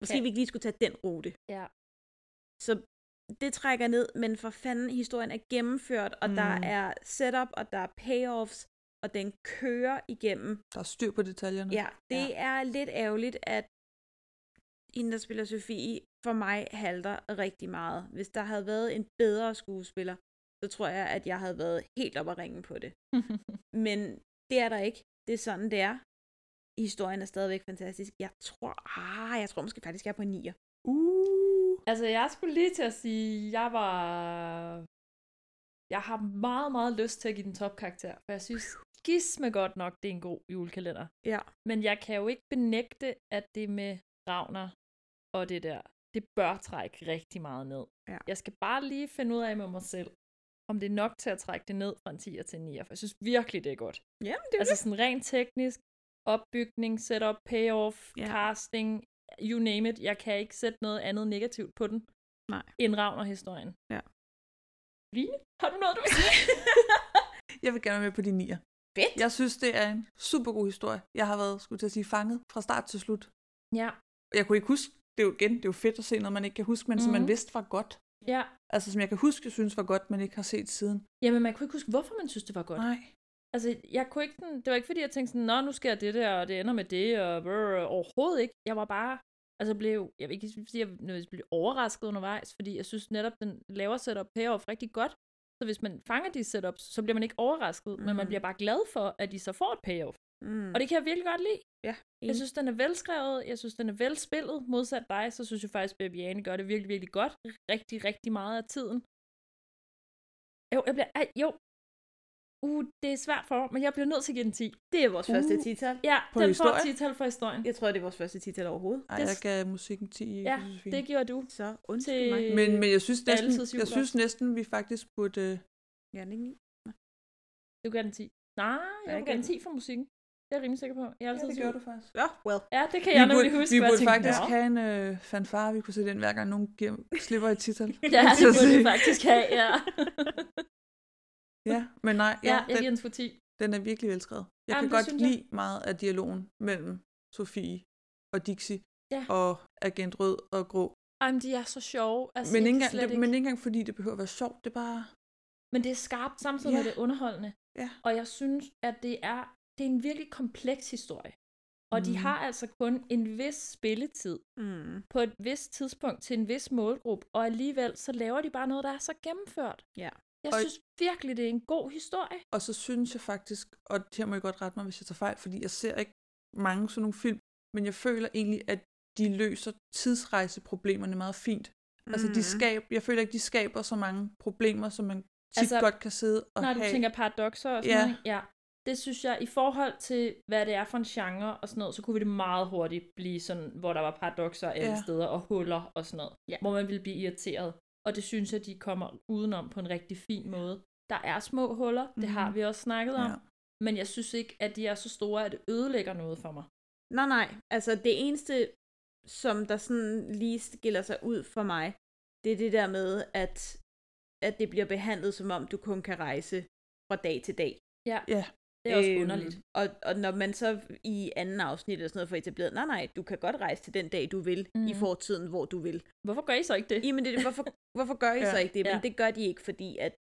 Måske Ja. vi ikke lige skulle tage den rute. Ja. Så det trækker ned, men for fanden, historien er gennemført, og mm. der Mm. er setup, og der er payoffs, og den kører igennem. Der er styr på detaljerne. Ja, det ja. er lidt ærgerligt, at hende, der spiller Sofie, for mig halter rigtig meget. Hvis der havde været en bedre skuespiller, så tror jeg, at jeg havde været helt op at ringe på det. Men det er der ikke. Det er sådan, det er. Historien er stadigvæk fantastisk. Jeg tror, ah, jeg tror måske faktisk, jeg er på en nier. Uh. altså, jeg skulle lige til at sige, jeg var... Jeg har meget, meget lyst til at give den topkarakter, for jeg synes gisme godt nok, det er en god julekalender. Ja. Men jeg kan jo ikke benægte, at det med Ravner og det der, det bør trække rigtig meget ned. Ja. Jeg skal bare lige finde ud af med mig selv, om det er nok til at trække det ned fra en 10'er til en 9'er, for jeg synes virkelig, det er godt. Jamen, det Altså sådan rent teknisk, opbygning, setup, payoff, Ja. ja. casting, you name it. Jeg kan ikke sætte noget andet negativt på den. Nej. End Ravner-historien. Ja. Line, har du noget, du vil sige? Jeg vil gerne være med på de nier. Fedt. Jeg synes, det er en super god historie. Jeg har været, skulle til at sige, fanget fra start til slut. ja. Jeg kunne ikke huske, det er jo igen, det er jo fedt at se noget, man ikke kan huske, men mm. som man Mhm. vidste var godt. ja. Altså, som jeg kan huske, jeg synes var godt, men ikke har set siden. Jamen, man kunne ikke huske, hvorfor man synes, det var godt. Nej. Altså, jeg kunne ikke sådan, det var ikke fordi, jeg tænkte sådan, nå, nu sker det der, og det ender med det, og brr, overhovedet ikke. Jeg var bare, altså blev, jeg vil ikke sige, at jeg nødvendigvis blev overrasket undervejs, fordi jeg synes netop, den laver setup payoff rigtig godt. Så hvis man fanger de setups, så bliver man ikke overrasket, mm. men man Mhm. bliver bare glad for, at de så får et payoff. Mm. Og det kan jeg virkelig godt lide. Ja, Jeg synes, den er velskrevet, jeg synes, den er velspillet. Modsat dig, så synes jeg faktisk, Baby Jane gør det virkelig, virkelig godt. Rigtig, rigtig meget af tiden. Jo, jeg bliver... Ej, jo. Uh, det er svært for mig, men jeg bliver nødt til at give den 10. det er vores Uh. første tital. Ja, På den historie? får 10 tal for historien. Jeg tror, det er vores første tital overhovedet. Ej, Det- jeg gav musikken 10 i Ja, Josefine. det gjorde du. Så undskyld Til... mig. Men, men jeg synes Altid næsten, syv jeg blot. synes næsten vi faktisk burde... Øh, Jeg er den ikke ni. Du gav den 10. Nej, jeg jeg gav den gav 10 for musikken. Det er jeg rimelig sikker på. Jeg er altid syv. du faktisk. Ja, well. Ja, det kan jeg nemlig huske, vi hvor jeg burde tænkte, faktisk "Nå." have en øh, fanfare, vi kunne sætte ind, hver gang nogen giver, slipper et titel. Ja, det burde vi Så- faktisk have, ja. Ja, men nej, ja, ja, jeg den, giver den for 10. den er virkelig velskrevet. Jeg Jamen, Jamen, det kan godt synes jeg. lide meget af dialogen mellem Sofie og Dixie Ja. og Agent Rød og Grå. Ej, men de er så sjove. Altså, men, ikke jeg kan engang, slet det, men ikke engang fordi det behøver at være sjovt, det er bare... Men det er skarpt, samtidig ja. med Ja. det er underholdende. Ja. Og jeg synes, at det er, det er en virkelig kompleks historie. Og mm. de Mhm. har altså kun en vis spilletid Mm. på et vist tidspunkt til en vis målgruppe, og alligevel så laver de bare noget, der er så gennemført. Ja. Jeg Og- synes virkelig, det er en god historie. Og så synes jeg faktisk, og her må I godt rette mig, hvis jeg tager fejl, fordi jeg ser ikke mange sådan nogle film, men jeg føler egentlig, at de løser tidsrejseproblemerne meget fint. Mm. Altså, de skab, jeg føler ikke, de skaber så mange problemer, som man tit Altså, altså, godt kan sidde og Når have. du tænker paradoxer og sådan Ja. noget, ikke? ja. Det synes jeg, i forhold til, hvad det er for en genre og sådan noget, så kunne vi det meget hurtigt blive sådan, hvor der var paradoxer alle Ja. steder og huller og sådan noget, ja. hvor man ville blive irriteret. Og det synes jeg, de kommer udenom på en rigtig fin måde. Der er små huller, det har vi også snakket om, Ja. men jeg synes ikke, at de er så store, at det ødelægger noget for mig. Nej, nej. Altså, det eneste, som der sådan lige skiller sig ud for mig, det er det der med, at, at det bliver behandlet, som om du kun kan rejse fra dag til dag. Det Øhm. er også underligt. Og, og når man så i anden afsnit eller sådan noget får etableret, nej, nej, du kan godt rejse til den dag, du vil, mm. i Mhm. fortiden, hvor du vil. Hvorfor gør I så ikke det? Jamen, det, er det, hvorfor, hvorfor gør I Ja. så ikke det? Men Ja. det gør de ikke, fordi at...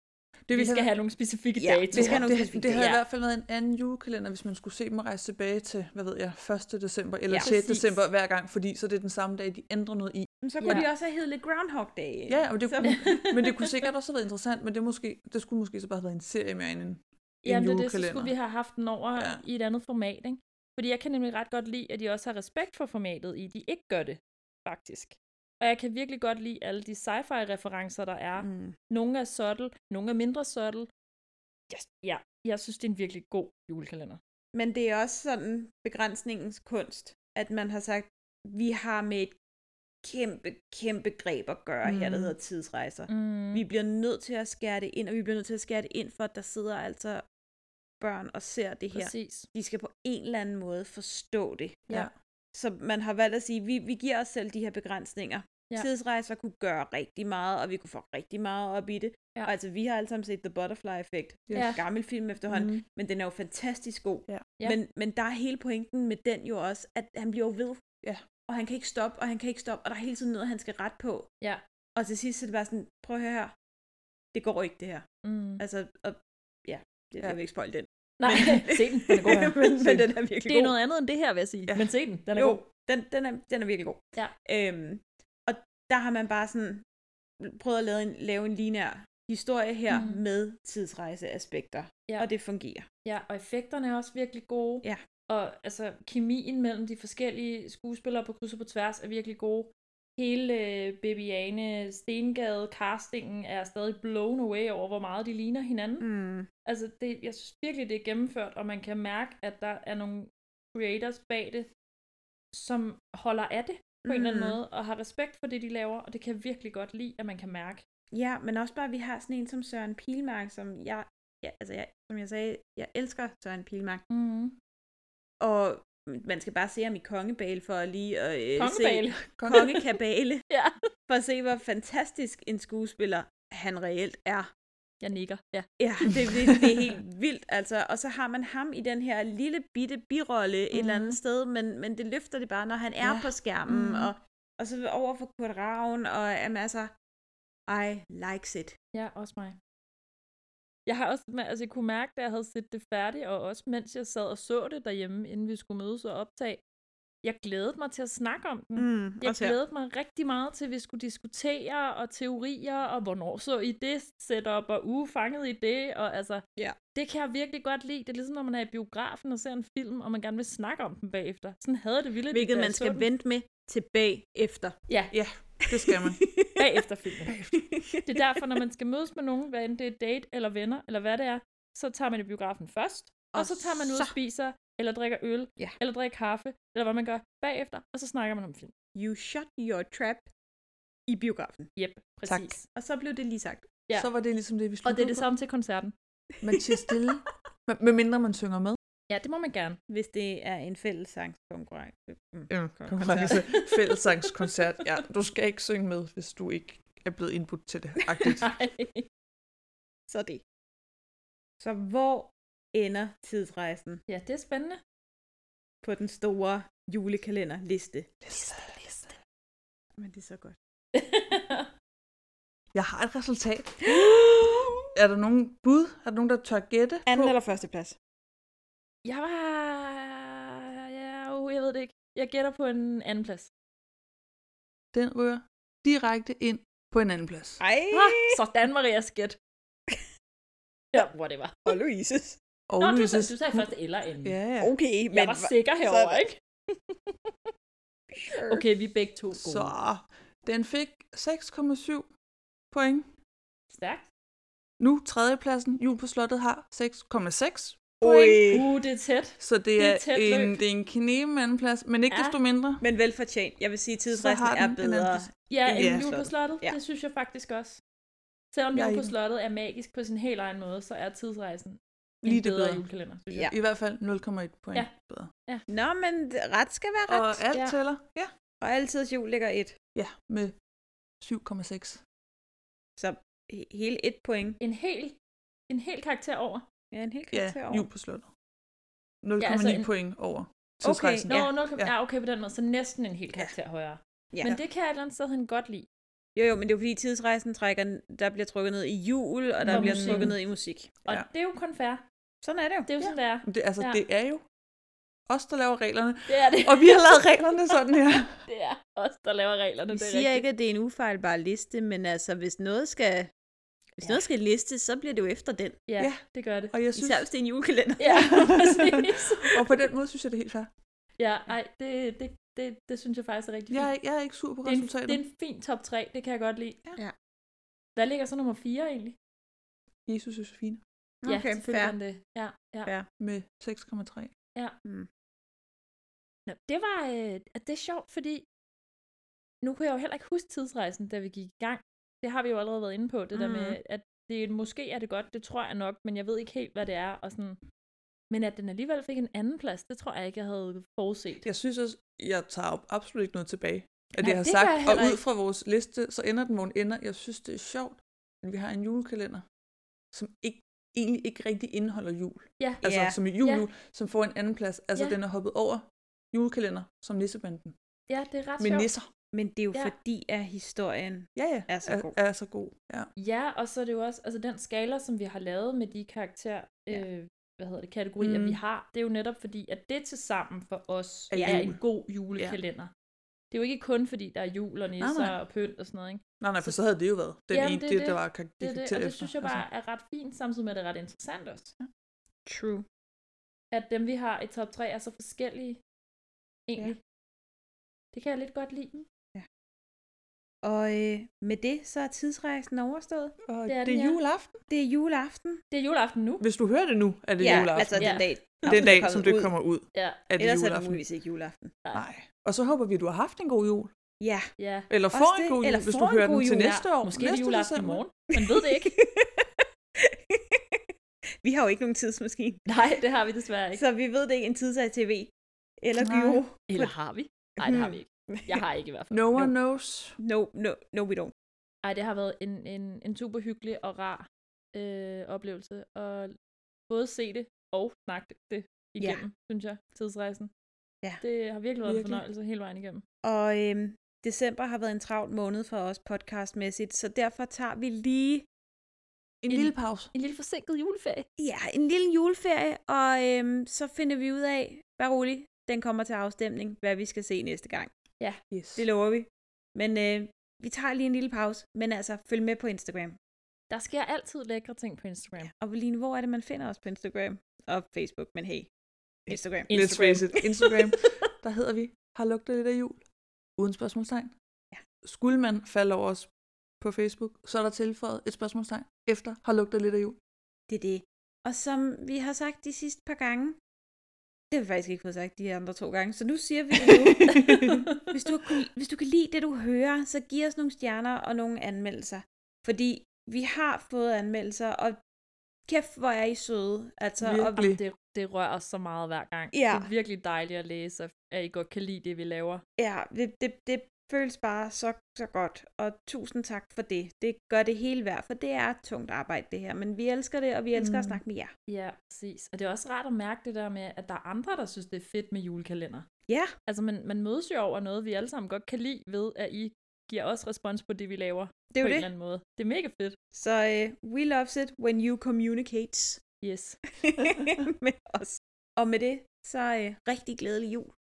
Det, Vi skal have nogle specifikke Ja, datoer. vi skal have nogle det, det havde Ja. i hvert fald været en anden julekalender, hvis man skulle se dem rejse tilbage til, hvad ved jeg, 1. december eller ja, Ja, 6. præcis. december hver gang, fordi så det er den samme dag, de ændrer noget i. Men så kunne Ja. ja. de også have heddet lidt Groundhog Day. ikke? Ja, og det, Så- men det kunne sikkert også have været interessant, men det, måske, det skulle måske så bare have været en serie mere end en, en Jamen, det, er det, så julekalender. skulle vi have haft den over ja. Ja. i et andet format, ikke? Fordi jeg kan nemlig ret godt lide, at de også har respekt for formatet i, at de ikke gør det, faktisk. Og jeg kan virkelig godt lide alle de sci-fi-referencer, der er. Mm. Mm. Nogle er subtle, nogle er mindre subtle. Yes, ja, jeg synes, det er en virkelig god julekalender. Men det er også sådan begrænsningens kunst, at man har sagt, vi har med et kæmpe, kæmpe greb at gøre mm. her, der Mhm. hedder tidsrejser. Mm. Vi bliver nødt til at skære det ind, og vi bliver nødt til at skære det ind, for at der sidder altså børn og ser det her. Præcis. De skal på en eller anden måde forstå det. Ja. Så man har valgt at sige, vi, vi giver os selv de her begrænsninger. Ja. Ja. Tidsrejser kunne gøre rigtig meget, og vi kunne få rigtig meget op i det. Ja. Ja. Og altså, vi har alle sammen set The Butterfly Effect. Det er Ja. en gammel film Mhm. efterhånden, mm. men den er jo fantastisk god. Ja. Ja. Men, men der er hele pointen med den jo også, at han bliver jo ved. Ja. Og han kan ikke stoppe, og han kan ikke stoppe, og der er hele tiden noget, han skal rette på. Ja. Og til sidst så er det bare sådan, prøv at høre her. Det går ikke, det her. Mm. Altså, og, ja, jeg, Ja. ja. jeg vil ikke spoil den. Nej, se den. Den er god. men, men den er virkelig Det er god. noget andet end det her, vil jeg sige. Ja. Men se den. Den er jo, god. Den, den, er, den er virkelig god. Ja. Øhm, og der har man bare sådan prøvet at lave en, lave en linær historie her Mhm. mm. med tidsrejseaspekter. Ja. Og det fungerer. Ja, og effekterne er også virkelig gode. Ja. Og altså, kemien mellem de forskellige skuespillere på kryds og på tværs er virkelig god. Hele øh, Bibiane Stengade castingen er stadig blown away over, hvor meget de ligner hinanden. Mm. Mm. Altså, det, jeg synes virkelig, det er gennemført, og man kan mærke, at der er nogle creators bag det, som holder af det på mm. en eller anden Mhm. måde, og har respekt for det, de laver, og det kan jeg virkelig godt lide, at man kan mærke. Ja, men også bare, at vi har sådan en som Søren Pilmark, som jeg, ja, altså jeg, som jeg sagde, jeg elsker Søren Pilmark. Mm. Og man skal bare se ham i kongebale for at lige at øh, Kongebale. se kongekabale, ja. for at se, hvor fantastisk en skuespiller han reelt er. Jeg nikker. Ja. Ja, det, det, det er helt vildt, altså. Og så har man ham i den her lille bitte birolle mm. et eller andet sted, men, men det løfter det bare, når han er Ja. ja. på skærmen. Mm. Mm. Og, og så over for Kurt Ravn, og jamen, altså, I likes it. Ja, også mig. Jeg har også, ma- altså jeg kunne mærke, da jeg havde set det færdigt, og også mens jeg sad og så det derhjemme, inden vi skulle mødes og optage, jeg glædede mig til at snakke om den. Mm, Jeg glædede mig rigtig meget til, at vi skulle diskutere og teorier, og hvornår så I det setup, og uge fanget i det, og altså, Ja. det kan jeg virkelig godt lide. Det er ligesom, når man er i biografen og ser en film, og man gerne vil snakke om den bagefter. Sådan havde det vildt. Hvilket man skal vente med til bagefter. Ja, Ja, det skal man. bagefter filmen. Det er derfor, når man skal mødes med nogen, hvad end det er date eller venner, eller hvad det er, så tager man i biografen først, og, og Og så tager man ud og så- spiser, eller drikker øl, Ja. eller drikker kaffe, eller hvad man gør bagefter, og så snakker man om film. You shut your trap i biografen. Yep, præcis. Og så blev det lige sagt. Ja. Så var det ligesom det, vi Og skulle det er det samme til koncerten. Man siger stille. Men- Med mindre man synger med. Ja, det må man gerne. Hvis det er en fælles sangskonkurrence. Mm. Ja, Kon- konkurrence. Fællesangskoncert. Ja, du skal ikke synge med, hvis du ikke er blevet indbudt til det. Agtigt. Nej. Så det. Så hvor ender tidsrejsen Ja, det er spændende. på den store julekalenderliste? Liste, liste. Men det er så godt. Jeg har et resultat. Er der nogen bud? Er der nogen, der tør gætte? Anden på? eller førsteplads? jeg var... Ja, uh, jeg ved det ikke. Jeg gætter på en anden plads. Den rører direkte ind på en anden plads. Ej, Ah, sådan, Maria Skæt. Ja, whatever. og Louise. Og Nå, du, Louises- sagde- du sagde først eller anden. Ja, ja. Okay, Jeg var sikker herover, så- ikke? Okay, vi er begge to gode. Så den fik 6,7 point. Stærkt. Nu tredjepladsen, Jul på Slottet, har 6,6 Oi. point. Uh, det er tæt. Så det Det er er, tæt løb. en, det er en knæben andenplads, men ikke Ja. ja. desto mindre. Men velfortjent. Jeg vil sige, at Så tidsrejsen har er den en bedre. anden Ja, end en Ja. jul på slottet, ja. Ja. det synes jeg faktisk også. Selvom Jeg er jul på enig. slottet er magisk på sin helt egen måde, så er tidsrejsen Lige en det bedre bedre. julekalender, synes jeg. Ja. I hvert fald 0,1 point Ja. ja. bedre. Nå, men ret skal være Og ret. alt Ja. ja. tæller? Ja. Og altid jul ligger et. Ja, med 7,6. Så he- hele et point. En hel, en hel karakter over. Ja, en hel Ja, karakter over. Jul på Slottet. 0,9 altså ja, en- altså point over tidsrejsen. Nå, Ja. ja. 0, Ja. ja. okay på den måde, så næsten en hel karakter ja. højere. Ja. Ja. Men det kan jeg et eller andet sted hen godt lide. Jo, jo, men det er jo fordi tidsrejsen trækker, der bliver trukket ned i jul, og der Og bliver musik. trukket ned i musik. Og ja. Ja. det er jo kun fair. Sådan er det jo. Det er jo ja. sådan, det er. Men Det, altså, Ja. ja. det er jo os, der laver reglerne. Det er det. Og vi har lavet reglerne sådan her. Det er os, der laver reglerne. Vi det er siger rigtigt. ikke, at det er en ufejlbar liste, men altså, hvis noget skal, hvis Ja. ja. noget skal listes, så bliver det jo efter den. Ja, ja, Ja. det gør det. Og jeg synes, Især hvis det er en julekalender. Ja, præcis. og på den måde synes jeg, det er helt fair. Ja, ej, det, det, det, det synes jeg faktisk er rigtig Jeg, fint. er, jeg er ikke sur på det, er en, resultatet. det er en fin top 3, det kan jeg godt lide. Ja. Hvad ligger så nummer 4 egentlig? Jesus og Josefine ja, Okay, selvfølgelig fair. gør den det. Ja, ja. Fair. med 6,3. Nå, det var, øh, at det er sjovt, fordi nu kunne jeg jo heller ikke huske tidsrejsen, da vi gik i gang. Det har vi jo allerede været inde på, det mm. der med, at det, måske er det godt, det tror jeg nok, men jeg ved ikke helt, hvad det er. Og sådan. Men at den alligevel fik en anden plads, det tror jeg ikke, jeg havde forudset. Jeg synes også, jeg tager op absolut ikke noget tilbage af det, Nej, jeg har det gør sagt. jeg og heller ud ikke. fra vores liste, så ender den, hvor den ender. Jeg synes, det er sjovt, at vi har en julekalender, som ikke, egentlig ikke rigtig indeholder jul. Ja, Altså Ja. som i jul, Ja. jul, som får en anden plads. Altså Ja. den er hoppet over julekalender som nissebanden. ja det er ret Med sjovt. nisser. Men det er jo Ja. ja. fordi, at historien... Ja, ja. Er så god. Er, er så god. Ja. Ja, og så er det jo også, altså den skala, som vi har lavet med de karakter, Ja. øh, hvad hedder det, kategorier, Mm. vi har, det er jo netop fordi, at det til sammen for os Er er, er jul. en god julekalender. Ja. Det er jo ikke kun fordi, der er jul og nisser nej. og pynt og sådan noget, ikke? Nej, nej, for så havde det jo været den Jamen, ene, det det, er det, det. der var kar- Det, er det, karakter efter. og det altså. synes jeg bare er ret fint, samtidig med, at det er ret interessant også. True. At dem, vi har i top 3, er så forskellige, egentlig. Ja. Det kan jeg lidt godt lide. Og øh, med det, så er tidsrejsen overstået. Altså, og det det er er, den, ja. juleaften. Det er juleaften. Det er juleaften nu. Hvis du hører det nu, er det ja, juleaften. altså den Ja. dag, den dag, aften er som kommet det ud. kommer ud, Ja, er det Ellers er det juleaften. muligvis ikke juleaften. Nej. Og så håber vi, at du har haft en god jul. Ja, ja. Eller Også får en det. god jul, Eller hvis får du en hører den god til jul. næste år. Måske er næste det juleaften i december. morgen. Man ved det ikke. vi har jo ikke nogen tidsmaskine, Nej, det har vi desværre ikke. så vi ved det ikke en tids af tv. Eller Nej. gyro. Eller har vi? Nej, det har vi ikke. Jeg har ikke i hvert fald. No one knows. No, no, no we don't. Ej, det har været en, en, en super hyggelig og rar øh, oplevelse at både se det og snakke det igennem, ja. synes jeg, tidsrejsen. Ja. Det har virkelig været Virkelig. en fornøjelse hele vejen igennem. Og øhm, december har været en travl måned for os podcastmæssigt, så derfor tager vi lige En En- lille pause. En lille forsinket juleferie. ja, en lille juleferie, og øhm, så finder vi ud af, vær rolig, den kommer til afstemning, hvad vi skal se næste gang. Yes. Det lover vi. Men øh, vi tager lige en lille pause, men altså, følg med på Instagram. Der sker altid lækre ting på Instagram. Og Line, hvor er det, man finder os på Instagram? Og Facebook, men hey, Instagram. Let's face it. Instagram. Der hedder vi, har lugtet lidt af jul. Uden spørgsmålstegn. Ja. Skulle man falde over os på Facebook, så er der tilføjet et spørgsmålstegn efter, har lugtet lidt af jul. Det er det. Og som vi har sagt de sidste par gange, det har vi faktisk ikke fået sagt de andre to gange, så nu siger vi det nu. hvis, du har kunne, hvis du kan lide det, du hører, så giv os nogle stjerner og nogle anmeldelser. Fordi vi har fået anmeldelser, og kæft, hvor er I søde. Altså, og Virkelig. det, det rører os så meget hver gang. Ja. Det er virkelig dejligt at læse, og at I godt kan lide det, vi laver. Ja, det, det, det føles bare så, så godt, og tusind tak for det. Det gør det hele værd, for det er tungt arbejde det her, men vi elsker det, og vi elsker mm. at snakke med jer. Ja, præcis. Og det er også rart at mærke det der med, at der er andre, der synes, det er fedt med julekalender. Ja, Altså, man, man mødes jo over noget, vi alle sammen godt kan lide, ved at I giver os respons på det, vi laver. det er jo på en det. eller anden måde. Det er mega fedt. Så uh, we loves it when you communicates Yes. med os. Og med det, så uh, øh, rigtig glædelig jul.